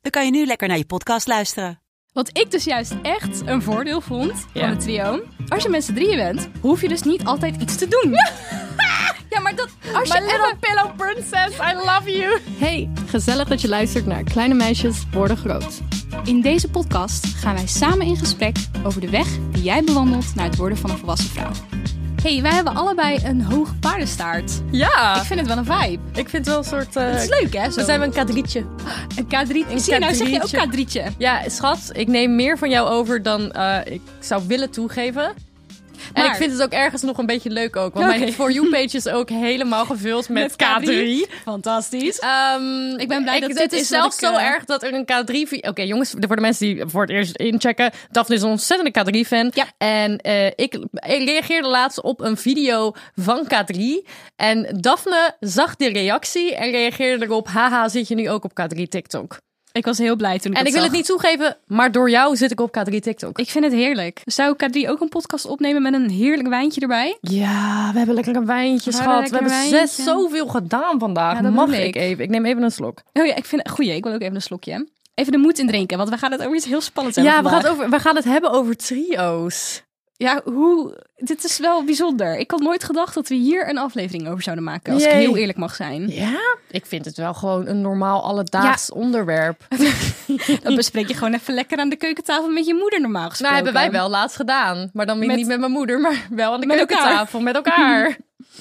dan kan je nu lekker naar je podcast luisteren. Wat ik dus juist echt een voordeel vond van het trio. Als je met z'n drieën bent, hoef je dus niet altijd iets te doen. Ja, maar dat... Als je My little even- pillow princess, I love you. Hey, gezellig dat je luistert naar Kleine Meisjes Worden Groot. In deze podcast gaan wij samen in gesprek over de weg die jij bewandelt naar het worden van een volwassen vrouw. hey, wij hebben allebei een hoge paardenstaart. Ja, Ik vind het wel een vibe. ik vind wel een soort... eh, Het is leuk, hè? Zo. We zijn wel een kadrietje. een K3. Zie je, nou zeg je ook K3'tje. Ja, schat, ik neem meer van jou over dan eh, ik zou willen toegeven. En Maar- ik vind het ook ergens nog een beetje leuk ook. Want Oké. mijn For You-page is ook helemaal gevuld met, K3. Fantastisch. Ehm, Ik ben blij dat Het dit is is zelfs wat ik, zo eh, erg dat er een K3... vi- Oké, jongens, voor de mensen die voor het eerst inchecken. Daphne is een ontzettende K3-fan. Ja. En eh, ik, ik reageerde laatst op een video van K3. En Daphne zag die reactie en reageerde erop... Haha, zit je nu ook op K3 TikTok? Ik was heel blij toen ik en ik wil het niet toegeven, maar door jou zit ik op K3 TikTok. Ik vind het heerlijk. Zou K3 ook een podcast opnemen met een heerlijk wijntje erbij? Ja, we hebben lekker een wijntje, We schat. hadden We lekker hebben een zes wijntje. zoveel gedaan vandaag. Ja, dat Mag bedoel ik. ik. even? Ik neem even een slok. Oh ja, ik vind goeie. Ik wil ook even een slokje. Even de moed indrinken, want we gaan het over iets heel spannends hebben. Ja, we gaan, vandaag. het over, we gaan het hebben over trio's. Ja, hoe. Dit is wel bijzonder. Ik had nooit gedacht dat we hier een aflevering over zouden maken. Als ik Jee. heel eerlijk mag zijn. Ja, ik vind het wel gewoon een normaal alledaags onderwerp. Dan bespreek je gewoon even lekker aan de keukentafel met je moeder, normaal Nou, gesproken. hebben wij wel laatst gedaan. Maar dan Met- niet met mijn moeder, maar wel aan de Met elkaar. keukentafel met elkaar.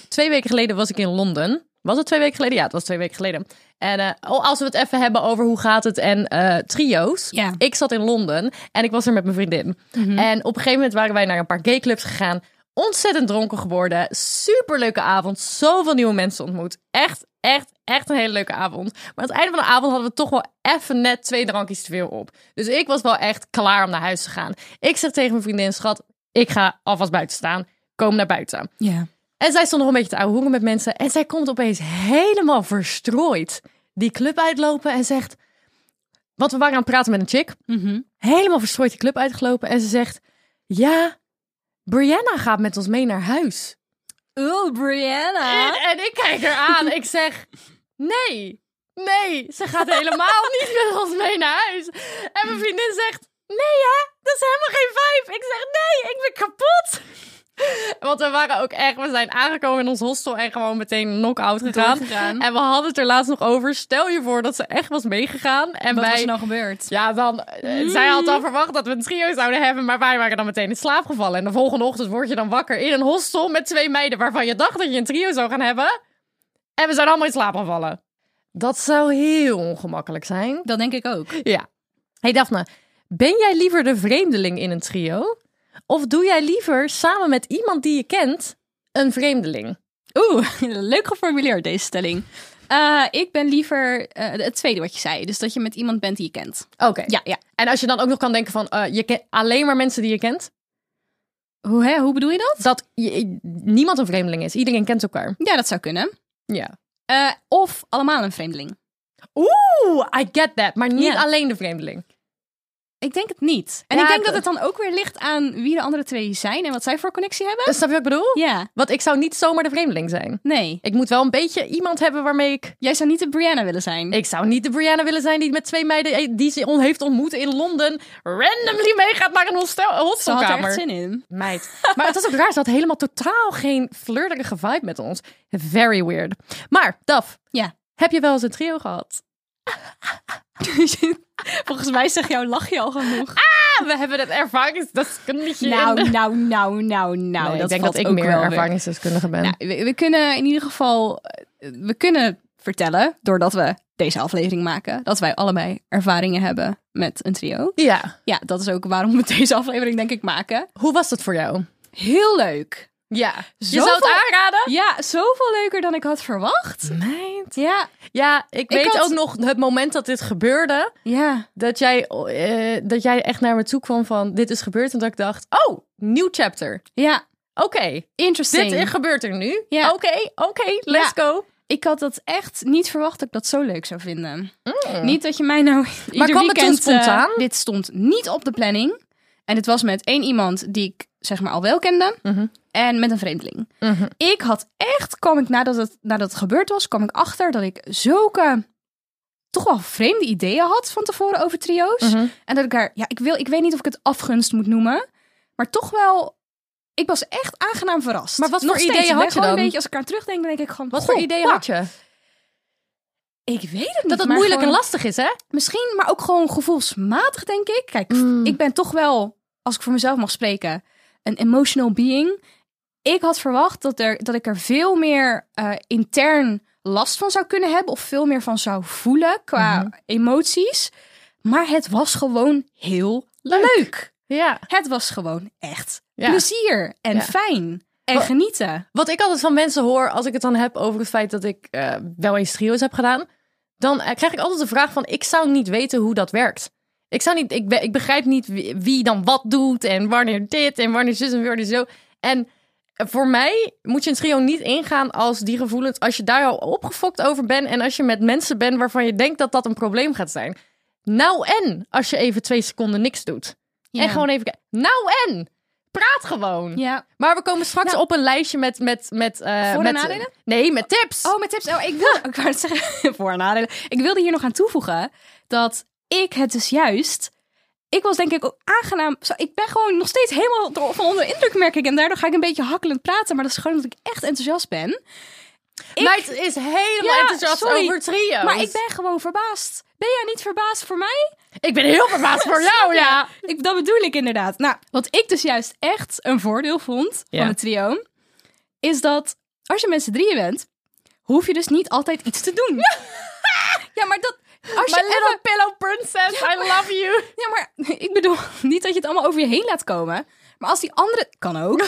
twee weken geleden was ik in Londen. Was het twee weken geleden? Ja, het was twee weken geleden. En eh, oh, als we het even hebben over hoe gaat het en eh, trio's. Ja. Ik zat in Londen en ik was er met mijn vriendin. En op een gegeven moment waren wij naar een paar gayclubs gegaan. Ontzettend dronken geworden. Superleuke avond. Zoveel nieuwe mensen ontmoet. Echt, echt, echt een hele leuke avond. Maar aan het einde van de avond hadden we toch wel even net twee drankjes te veel op. Dus ik was wel echt klaar om naar huis te gaan. Ik zeg tegen mijn vriendin, schat, ik ga alvast buiten staan. Kom naar buiten. Ja. En zij stond nog een beetje te ouwehoeren met mensen. En zij komt opeens helemaal verstrooid die club uitlopen en zegt... Want we waren aan het praten met een chick. Helemaal verstrooid die club uitgelopen. En ze zegt... Ja, Brianna gaat met ons mee naar huis. Oh, Brianna. En, en ik kijk haar aan. Ik zeg... Nee, nee, ze gaat helemaal niet met ons mee naar huis. En mijn vriendin zegt... Nee hè, dat is helemaal geen vibe. Ik zeg nee, ik ben kapot. Want we waren ook echt, we zijn aangekomen in ons hostel en gewoon meteen knock-out gegaan. Doorgegaan. En we hadden het er laatst nog over. Stel je voor dat ze echt was meegegaan. En Wat wij, is er nou gebeurd? Ja, dan, eh, zij had dan verwacht dat we een trio zouden hebben, maar wij waren dan meteen in slaap gevallen. En de volgende ochtend word je dan wakker in een hostel met twee meiden waarvan je dacht dat je een trio zou gaan hebben. En we zijn allemaal in slaap gevallen. Dat zou heel ongemakkelijk zijn. Dat denk ik ook. Ja. Hey Daphne, ben jij liever de vreemdeling in een trio? Of doe jij liever samen met iemand die je kent een vreemdeling? Oeh, leuk geformuleerd deze stelling. Eh, ik ben liever eh, het tweede wat je zei. Dus dat je met iemand bent die je kent. Oké. Ja, ja. En als je dan ook nog kan denken van, eh, je kent alleen maar mensen die je kent. Hoe, hè? Hoe bedoel je dat? Dat je- niemand een vreemdeling is. Iedereen kent elkaar. Ja, dat zou kunnen. Ja. Eh, of allemaal een vreemdeling. Oeh, I get that. Maar niet Ja. alleen de vreemdeling. Ik denk het niet. En Ja, ik denk ik- dat het dan ook weer ligt aan wie de andere twee zijn en wat zij voor connectie hebben. Dus Snap je wat ik bedoel? Ja, Want ik zou niet zomaar de vreemdeling zijn. nee. Ik moet wel een beetje iemand hebben waarmee ik... Jij zou niet de Brianna willen zijn. Ik zou niet de Brianna willen zijn die met twee meiden eh, die ze on heeft ontmoet in Londen... randomly meegaat naar een hostel, Ze had er echt hostelkamer. zin in. Meid. Maar het was ook raar. Ze had helemaal totaal geen flirterige vibe met ons. Very weird. Maar, Daf, Ja. heb je wel eens een trio gehad? Volgens mij zegt jouw lachje al genoeg. Ah, we hebben het ervaringsdeskundige. in de- nou, nou, nou, nou, nou. Nee, ik dat denk valt dat ik ook meer wel weer. ervaringsdeskundige ben. Nou, we, we kunnen in ieder geval... eh, We kunnen vertellen, doordat we deze aflevering maken... dat wij allebei ervaringen hebben met een trio. ja. Ja, dat is ook waarom we deze aflevering denk ik maken. Hoe was dat voor jou? Heel leuk. Ja. Je Zoveel- zou het aanraden? Ja, zoveel leuker dan ik had verwacht. Meid. Ja, Ja, ik, weet had- ook nog het moment dat dit gebeurde. ja. Dat jij, eh, dat jij echt naar me toe kwam van dit is gebeurd. En dat ik dacht, oh, nieuw chapter. Ja, Oké, interesting. dit is- gebeurt er nu. Oké, Ja. oké, let's go. ik had dat echt niet verwacht dat ik dat zo leuk zou vinden. Niet dat je mij nou ieder Mm. kwam het toen weekend, eh, spontaan? dit stond niet op de planning. En het was met één iemand die ik zeg maar al wel kende. Mhm. En met een vreemdeling. Ik had echt, kwam ik nadat het, nadat het gebeurd was, kwam ik achter dat ik zulke toch wel vreemde ideeën had van tevoren over trio's. Mhm. En dat ik daar, ja, ik, wil, ik weet niet of ik het afgunst moet noemen. Maar toch wel, ik was echt aangenaam verrast. Maar wat Nog voor steeds, ideeën ik ben had je gewoon dan? Een beetje, als ik aan terugdenk, dan denk ik gewoon... Wat voor goh, idee wauw. had je? Ik weet het niet. Dat het maar moeilijk gewoon- en lastig is, hè? Misschien, maar ook gewoon gevoelsmatig, denk ik. Kijk, Mm. ik ben toch wel, als ik voor mezelf mag spreken, een emotional being. Ik had verwacht dat, er, dat ik er veel meer eh, intern last van zou kunnen hebben. Of veel meer van zou voelen qua emoties. Maar het was gewoon heel leuk. Ja. Het was gewoon echt Ja. plezier en Ja. fijn en Wa- genieten. Wat ik altijd van mensen hoor als ik het dan heb over het feit dat ik eh, wel eens trio's heb gedaan, dan eh, krijg ik altijd de vraag van ik zou niet weten hoe dat werkt. Ik, zou niet, ik, be- ik begrijp niet wie, wie dan wat doet en wanneer dit en wanneer zus en wanneer zo. En eh, voor mij moet je een trio niet ingaan als die gevoelens, als je daar al opgefokt over bent en als je met mensen bent waarvan je denkt dat dat een probleem gaat zijn. Nou en als je even twee seconden niks doet. En gewoon even kijken. Nou en! Praat gewoon. Ja. Maar we komen straks Nou. op een lijstje met... met, met eh, Voor- en met, nadelen? Nee, met tips. Oh, met tips. Oh, ik wilde, ik wou het zeggen, voor en nadelen. Ik wilde hier nog aan toevoegen dat ik het dus juist. Ik was denk ik ook aangenaam. Zo, ik ben gewoon nog steeds helemaal door- van onder de indruk, merk ik. En daardoor ga ik een beetje hakkelend praten. Maar dat is gewoon omdat ik echt enthousiast ben. ik- Meid is helemaal Ja, enthousiast sorry. over trio's. Maar ik ben gewoon verbaasd. Ben jij niet verbaasd voor mij? ik ben heel verbaasd voor jou, ja. Ik, dat bedoel ik inderdaad. Nou, wat ik dus juist echt een voordeel vond Ja. van het trio... is dat als je met z'n drieën bent... hoef je dus niet altijd iets te doen. Ja, maar dat... Als My je even- little pillow princess, I love you. Ja, maar ik bedoel niet dat je het allemaal over je heen laat komen. Maar als die andere... Kan ook.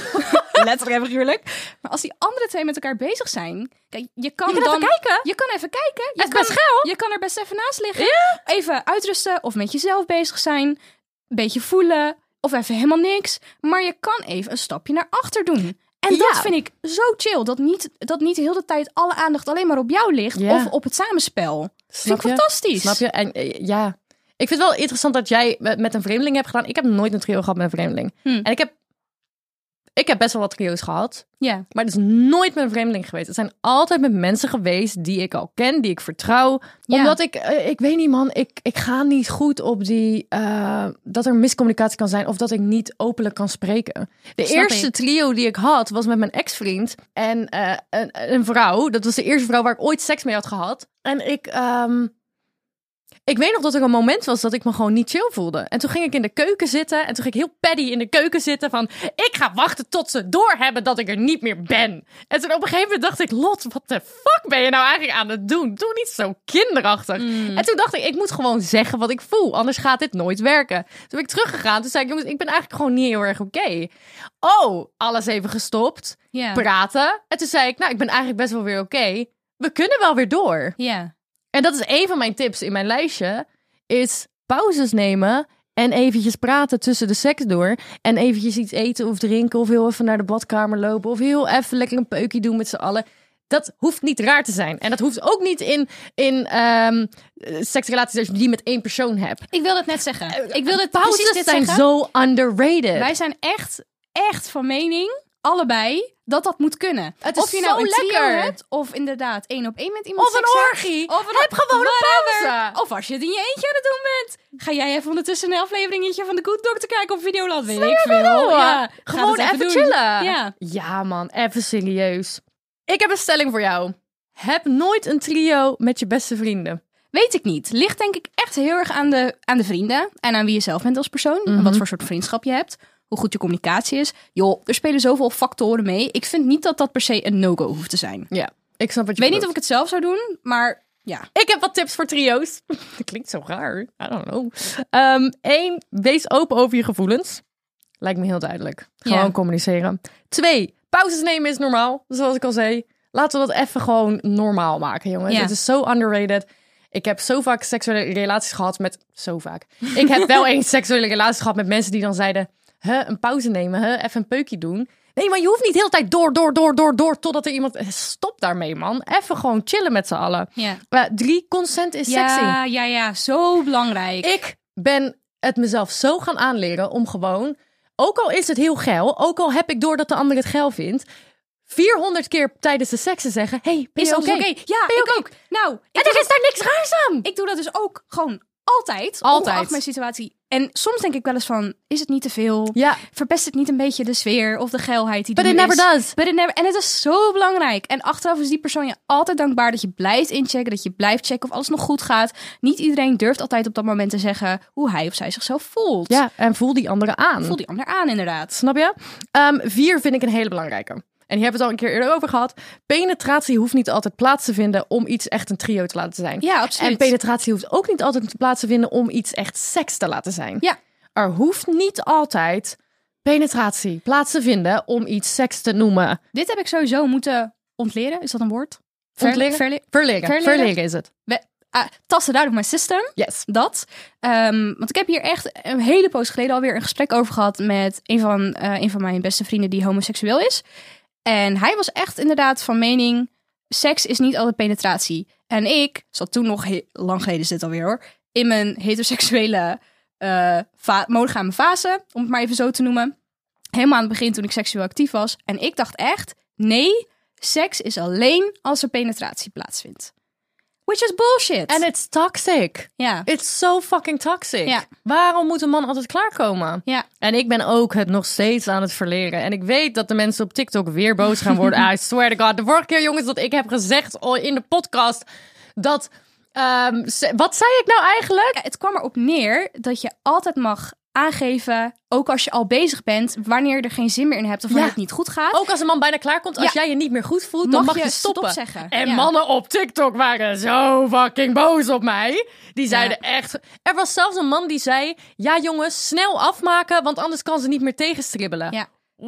Letterlijk en figuurlijk. Maar als die andere twee met elkaar bezig zijn... Kijk, je kan kan dan... even kijken. Je kan even kijken. Je Het is kan, best geil. Je kan er best even naast liggen. Even uitrusten of met jezelf bezig zijn. Een beetje voelen. Of even helemaal niks. Maar je kan even een stapje naar achter doen. En dat Ja. vind ik zo chill. Dat niet, dat niet de hele tijd alle aandacht alleen maar op jou ligt. Ja. Of op het samenspel. vind ik fantastisch. Snap je? En eh, ja, ik vind het wel interessant dat jij met, met een vreemdeling hebt gedaan. Ik heb nooit een trio gehad met een vreemdeling. Hm. En ik heb, ik heb best wel wat trio's gehad. Ja. Maar het is nooit met een vreemdeling geweest. Het zijn altijd met mensen geweest die ik al ken, die ik vertrouw. Ja. Omdat ik, eh, ik weet niet man, ik, ik ga niet goed op die, eh, dat er miscommunicatie kan zijn of dat ik niet openlijk kan spreken. De Snap eerste ik. trio die ik had was met mijn ex-vriend en eh, een, een vrouw. Dat was de eerste vrouw waar ik ooit seks mee had gehad. En ik, ehm, ik weet nog dat er een moment was dat ik me gewoon niet chill voelde. En toen ging ik in de keuken zitten. En toen ging ik heel paddy in de keuken zitten. Van, ik ga wachten tot ze doorhebben dat ik er niet meer ben. En toen op een gegeven moment dacht ik... Lot, wat de fuck ben je nou eigenlijk aan het doen? Doe niet zo kinderachtig. Mm. En toen dacht ik, ik moet gewoon zeggen wat ik voel. Anders gaat dit nooit werken. Toen ben ik teruggegaan. Toen zei ik, jongens, ik ben eigenlijk gewoon niet heel erg oké. Oh, alles even gestopt. Ja. Praten. En toen zei ik, nou, ik ben eigenlijk best wel weer oké. We kunnen wel weer door. Ja. En dat is een van mijn tips in mijn lijstje. Is pauzes nemen en eventjes praten tussen de seks door. En eventjes iets eten of drinken of heel even naar de badkamer lopen. Of heel even lekker een peukje doen met z'n allen. Dat hoeft niet raar te zijn. En dat hoeft ook niet in, in ehm, seksrelaties als je die met één persoon hebt. Ik wil het net zeggen. Ik wil het precies Pauzes dit Eh, zijn zeggen. zo underrated. Wij zijn echt, echt van mening, allebei, dat dat moet kunnen. Het is of je nou zo een trio lekker. hebt, of inderdaad één op één met iemand of een seks hebt, orgie. Of een Heb gewoon een whatever. pauze. Of als je het in je eentje aan het doen bent. Ga jij even ondertussen een afleveringetje van de Good Doctor kijken op Videoland. Weet ik veel. Ja, ga Gewoon dat even, doen. chillen. Ja. man, even serieus. Ik heb een stelling voor jou. Heb nooit een trio met je beste vrienden. Weet ik niet. Ligt denk ik echt heel erg aan de, aan de vrienden. En aan wie je zelf bent als persoon. En wat voor soort vriendschap je hebt. Hoe goed je communicatie is. Joh, er spelen zoveel factoren mee. Ik vind niet dat dat per se een no-go hoeft te zijn. Ja, ik snap wat Ik weet niet of ik het zelf zou doen, maar ja. Ik heb wat tips voor trio's. Dat klinkt zo raar. I don't know. Ehm Eén, wees open over je gevoelens. Lijkt me heel duidelijk. Gewoon Ja. communiceren. Twee, Pauzes nemen is normaal, zoals ik al zei. Laten we dat even gewoon normaal maken, jongens. Ja. Het is zo underrated. Ik heb zo vaak seksuele relaties gehad met... Zo vaak. Ik heb wel eens seksuele relaties gehad met mensen die dan zeiden... Huh, een pauze nemen, huh, even een peukje doen. Nee, maar je hoeft niet de hele tijd door, door, door, door, door... totdat er iemand... Stop daarmee, man. Even gewoon chillen met z'n allen. Ja. Eh, drie, consent is sexy. Ja, ja, ja, zo belangrijk. Ik ben het mezelf zo gaan aanleren om gewoon, ook al is het heel geil, ook al heb ik door dat de ander het geil vindt, 400 keer tijdens de seks te zeggen: hey, ben is je alles oké? oké? Ja, Ben je ik oké? ook. Nou, ik En doe er dat- is daar niks raars aan. ik doe dat dus ook gewoon altijd. Altijd. Ongeacht mijn situatie. En soms denk ik wel eens van, is het niet te veel? Ja, Verpest het niet een beetje de sfeer of de geilheid die but er it never is? does. But it never- en het is zo belangrijk. En achteraf is die persoon je altijd dankbaar dat je blijft inchecken, dat je blijft checken of alles nog goed gaat. Niet iedereen durft altijd op dat moment te zeggen hoe hij of zij zichzelf voelt. Ja, en voel die andere aan. Voel die ander aan inderdaad. Snap je? Ehm, vier vind ik een hele belangrijke. En hier hebben we het al een keer eerder over gehad. Penetratie hoeft niet altijd plaats te vinden om iets echt een trio te laten zijn. Ja, absoluut. En penetratie hoeft ook niet altijd plaats te vinden om iets echt seks te laten zijn. Ja. Er hoeft niet altijd penetratie plaats te vinden om iets seks te noemen. Dit heb ik sowieso moeten ontleren. Is dat een woord? Ontleren? Verle- Verleren. Verleren. is het. ah, tasten duidelijk mijn system. Yes. dat. Ehm, want ik heb hier echt een hele poos geleden alweer een gesprek over gehad met een van, eh, een van mijn beste vrienden die homoseksueel is. En hij was echt inderdaad van mening, seks is niet altijd penetratie. En ik zat toen nog, he- lang geleden is dit alweer hoor, in mijn heteroseksuele eh, fa- monogame fase, om het maar even zo te noemen. Helemaal aan het begin toen ik seksueel actief was. En ik dacht echt, nee, seks is alleen als er penetratie plaatsvindt. Which is bullshit. En it's toxic. ja. It's so fucking toxic. Ja. Waarom moet een man altijd klaarkomen? Ja. En ik ben ook het nog steeds aan het verleren. En ik weet dat de mensen op TikTok weer boos gaan worden. I swear to god. De vorige keer, jongens, dat ik heb gezegd al in de podcast dat... ehm, se- wat zei ik nou eigenlijk? Ja, het kwam erop neer dat je altijd mag aangeven, ook als je al bezig bent, wanneer je er geen zin meer in hebt of wanneer Ja. Oh, het niet goed gaat. Ook als een man bijna klaarkomt, als Ja. jij je niet meer goed voelt, dan mag je, stoppen. stop zeggen. En Ja. mannen op TikTok waren zo fucking boos op mij. Die zeiden echt... Er was zelfs een man die zei... Ja jongens, snel afmaken, want anders kan ze niet meer tegenstribbelen. Ja.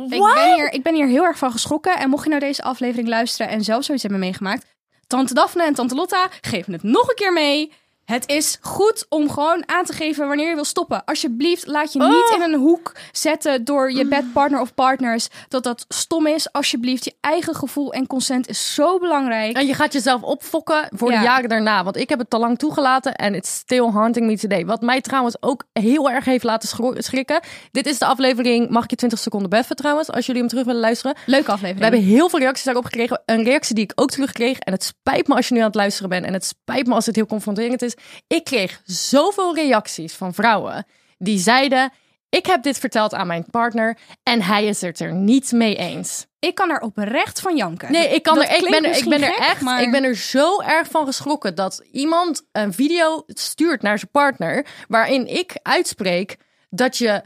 Ik What? ben, hier, ik ben hier heel erg van geschrokken. En mocht je nou deze aflevering luisteren en zelf zoiets hebben meegemaakt, Tante Daphne en Tante Lotta geven het nog een keer mee. Het is goed om gewoon aan te geven wanneer je wil stoppen. Alsjeblieft, laat je niet Oh. in een hoek zetten door je bedpartner of partners. Dat dat stom is. Alsjeblieft, je eigen gevoel en consent is zo belangrijk. En je gaat jezelf opfokken voor Ja. de jaren daarna. Want ik heb het te lang toegelaten en it's still haunting me today. Wat mij trouwens ook heel erg heeft laten schro- schrikken. Dit is de aflevering Mag ik je 20 seconden beffen trouwens? Als jullie hem terug willen luisteren. Leuke aflevering. We hebben heel veel reacties daarop gekregen. Een reactie die ik ook terugkreeg. En het spijt me als je nu aan het luisteren bent. En het spijt me als het heel confronterend is. Ik kreeg zoveel reacties van vrouwen die zeiden... Ik heb dit verteld aan mijn partner en hij is het er niet mee eens. Ik kan er oprecht van janken. Nee, ik, kan Dat er, ik klinkt ben er, ik misschien ben er gek, echt maar- ik ben er zo erg van geschrokken dat iemand een video stuurt naar zijn partner. waarin ik uitspreek dat je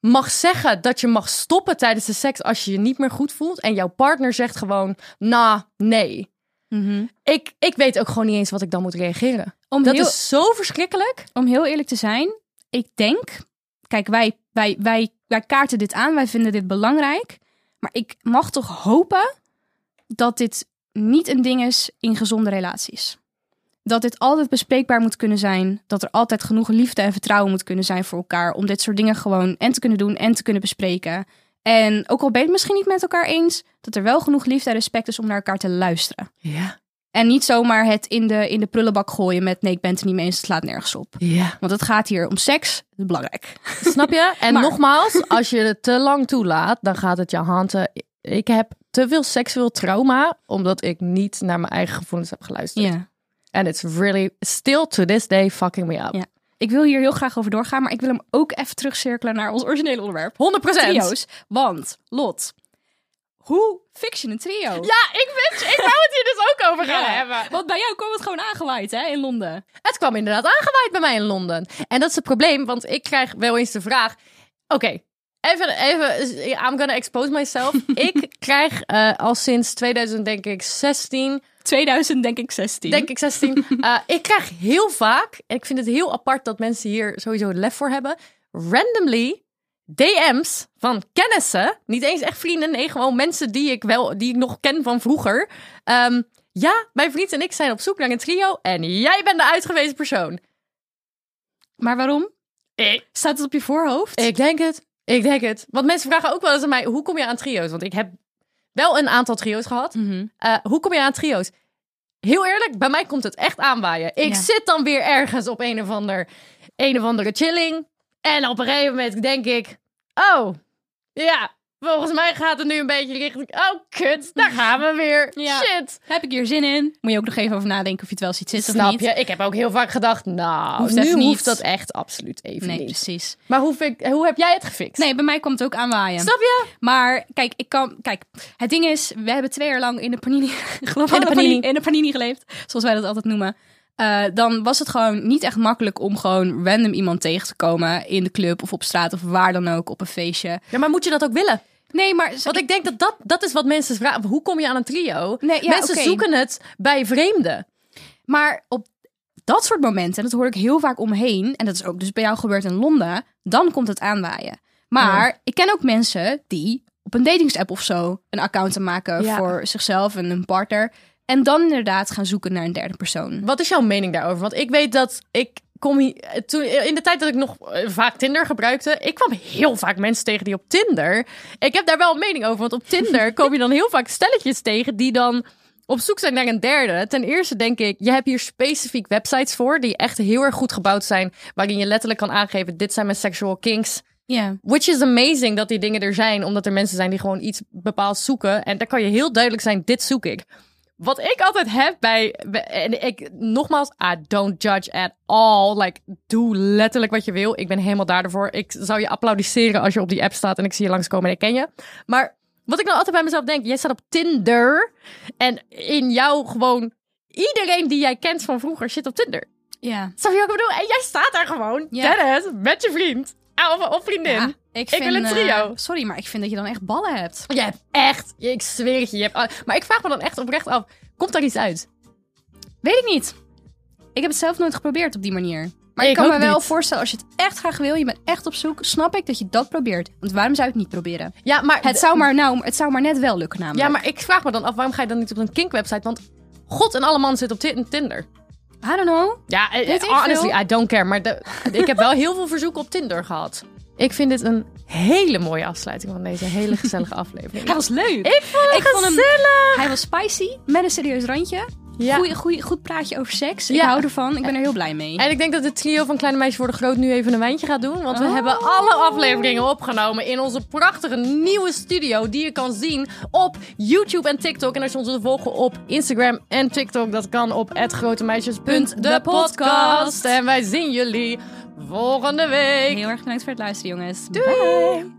mag zeggen dat je mag stoppen tijdens de seks als je je niet meer goed voelt. En jouw partner zegt gewoon, nou, nee. Mhm. Ik, ik weet ook gewoon niet eens wat ik dan moet reageren. om, Dat heel, is zo verschrikkelijk. om heel eerlijk te zijn, ik denk... Kijk, wij, wij, wij, wij kaarten dit aan, wij vinden dit belangrijk. Maar ik mag toch hopen dat dit niet een ding is in gezonde relaties. Dat dit altijd bespreekbaar moet kunnen zijn. Dat er altijd genoeg liefde en vertrouwen moet kunnen zijn voor elkaar. Om dit soort dingen gewoon en te kunnen doen en te kunnen bespreken. En ook al ben je het misschien niet met elkaar eens, dat er wel genoeg liefde en respect is om naar elkaar te luisteren. Ja, En niet zomaar het in de, in de prullenbak gooien met nee, ik ben het er niet mee eens, het slaat nergens op. ja. Want het gaat hier om seks, dat is belangrijk. Snap je? En Maar- nogmaals, als je het te lang toelaat, dan gaat het je handen. Ik heb te veel seksueel trauma, omdat ik niet naar mijn eigen gevoelens heb geluisterd. En it's really still to this day fucking me up. Ja. Ik wil hier heel graag over doorgaan, maar ik wil hem ook even terugcirkelen naar ons originele onderwerp. 100 Trio's. Want, Lot, hoe fix je een trio? Ja, ik, wist, ik wou het hier dus ook over gaan Ja. hebben. Want bij jou kwam het gewoon aangewaaid hè, in Londen. Het kwam inderdaad aangewaaid bij mij in Londen. En dat is het probleem, want ik krijg wel eens de vraag... Oké, even, even, I'm gonna expose myself. ik krijg eh, al sinds 2000, denk ik, 16... 2000, denk ik, 16. Denk ik 16. Eh, ik krijg heel vaak, en ik vind het heel apart dat mensen hier sowieso lef voor hebben, randomly DM's van kennissen. Niet eens echt vrienden, nee, gewoon mensen die ik, wel, die ik nog ken van vroeger. Ehm, ja, mijn vriend en ik zijn op zoek naar een trio en jij bent de uitgewezen persoon. Maar waarom? Ik, Staat het op je voorhoofd? ik denk het. Ik denk het. Want mensen vragen ook wel eens aan mij, hoe kom je aan trio's? Want ik heb wel een aantal trio's gehad. Mhm. Eh, hoe kom je aan trio's? Heel eerlijk, bij mij komt het echt aanwaaien. Ik Ja. zit dan weer ergens op een of, ander, een of andere chilling. En op een gegeven moment denk ik... Oh, ja, volgens mij gaat het nu een beetje richting... Oh, kut, daar gaan we weer. Ja. Shit. Heb ik hier zin in? Moet je ook nog even over nadenken of je het wel ziet zitten of Snap niet. je? Ik heb ook heel vaak gedacht... Nou, Hoeft nu echt niet. hoeft dat echt absoluut even Nee, niet. precies. Maar hoe, vind ik- hoe heb jij het gefixt? Nee, bij mij komt het ook aanwaaien. Snap je? Maar kijk, ik kan. Kijk, het ding is, we hebben twee jaar lang in de panini, geloof ik, in, In de de panini. panini. in de panini geleefd, zoals wij dat altijd noemen. Eh, dan was het gewoon niet echt makkelijk om gewoon random iemand tegen te komen in de club of op straat of waar dan ook op een feestje. Ja, maar moet je dat ook willen? Nee, maar Want ik denk dat dat, dat is wat mensen vragen. Hoe kom je aan een trio? Nee, ja, mensen oké. zoeken het bij vreemden. Maar op dat soort momenten, en dat hoor ik heel vaak omheen, en dat is ook dus bij jou gebeurd in Londen, dan komt het aanwaaien. Maar ik ken ook mensen die op een datingsapp of zo een account te maken Ja. voor zichzelf en een partner. En dan inderdaad gaan zoeken naar een derde persoon. Wat is jouw mening daarover? Want ik weet dat ik kom hier, eh, toen, in de tijd dat ik nog eh, vaak Tinder gebruikte, ik kwam heel vaak mensen tegen die op Tinder. Ik heb daar wel een mening over, want op Tinder kom je dan heel vaak stelletjes tegen die dan op zoek zijn naar een derde. Ten eerste denk ik, je hebt hier specifiek websites voor die echt heel erg goed gebouwd zijn, waarin je letterlijk kan aangeven: dit zijn mijn sexual kinks. Ja. Which is amazing dat die dingen er zijn, omdat er mensen zijn die gewoon iets bepaald zoeken. En daar kan je heel duidelijk zijn: dit zoek ik. Wat ik altijd heb bij. bij- En ik, nogmaals, I don't judge at all. Like, doe letterlijk wat je wil. Ik ben helemaal daarvoor. Ik zou je applaudisseren als je op die app staat en ik zie je langskomen en ik ken je. Maar wat ik nou altijd bij mezelf denk: jij staat op Tinder. En in jou gewoon. Iedereen die jij kent van vroeger zit op Tinder. Ja. Snap je wat ik bedoel? En jij staat daar gewoon, Ja. Dennis, met je vriend. Of, of vriendin. Ik wil een eh, trio. sorry, maar ik vind dat je dan echt ballen hebt. Je hebt echt, ik zweer het je, je hebt, al- maar ik vraag me dan echt oprecht af, komt daar iets uit? Weet ik niet. Ik heb het zelf nooit geprobeerd op die manier. Maar Ik ik kan ook me wel niet. voorstellen, als je het echt graag wil, je bent echt op zoek, snap ik dat je dat probeert. Want waarom zou je het niet proberen? Ja, maar, Het zou maar, nou, het zou maar net wel lukken namelijk. ja, maar ik vraag me dan af, waarom ga je dan niet op een kinkwebsite? Want god en alle man zit op Tin- Tinder. I don't know. Ja, eh, Weet ik honestly, veel. I don't care. Maar de- ik heb wel heel veel verzoeken op Tinder gehad. Ik vind dit een hele mooie afsluiting van deze hele gezellige aflevering. was leuk. Ik vond het Ik vond hem- gezellig! Hij was spicy, met een serieus randje. Ja. Goeie, goeie, goed praatje over seks. Ik Ja. hou ervan. Ik ben er heel blij mee. En ik denk dat het trio van Kleine Meisjes Worden Groot nu even een wijntje gaat doen. Want we Oh. hebben alle afleveringen opgenomen in onze prachtige nieuwe studio. Die je kan zien op YouTube en TikTok. En als je ons wilt volgen op Instagram en TikTok. Dat kan op @grotemeisjes.depodcast. En wij zien jullie volgende week. Heel erg bedankt voor het luisteren, jongens. Doei!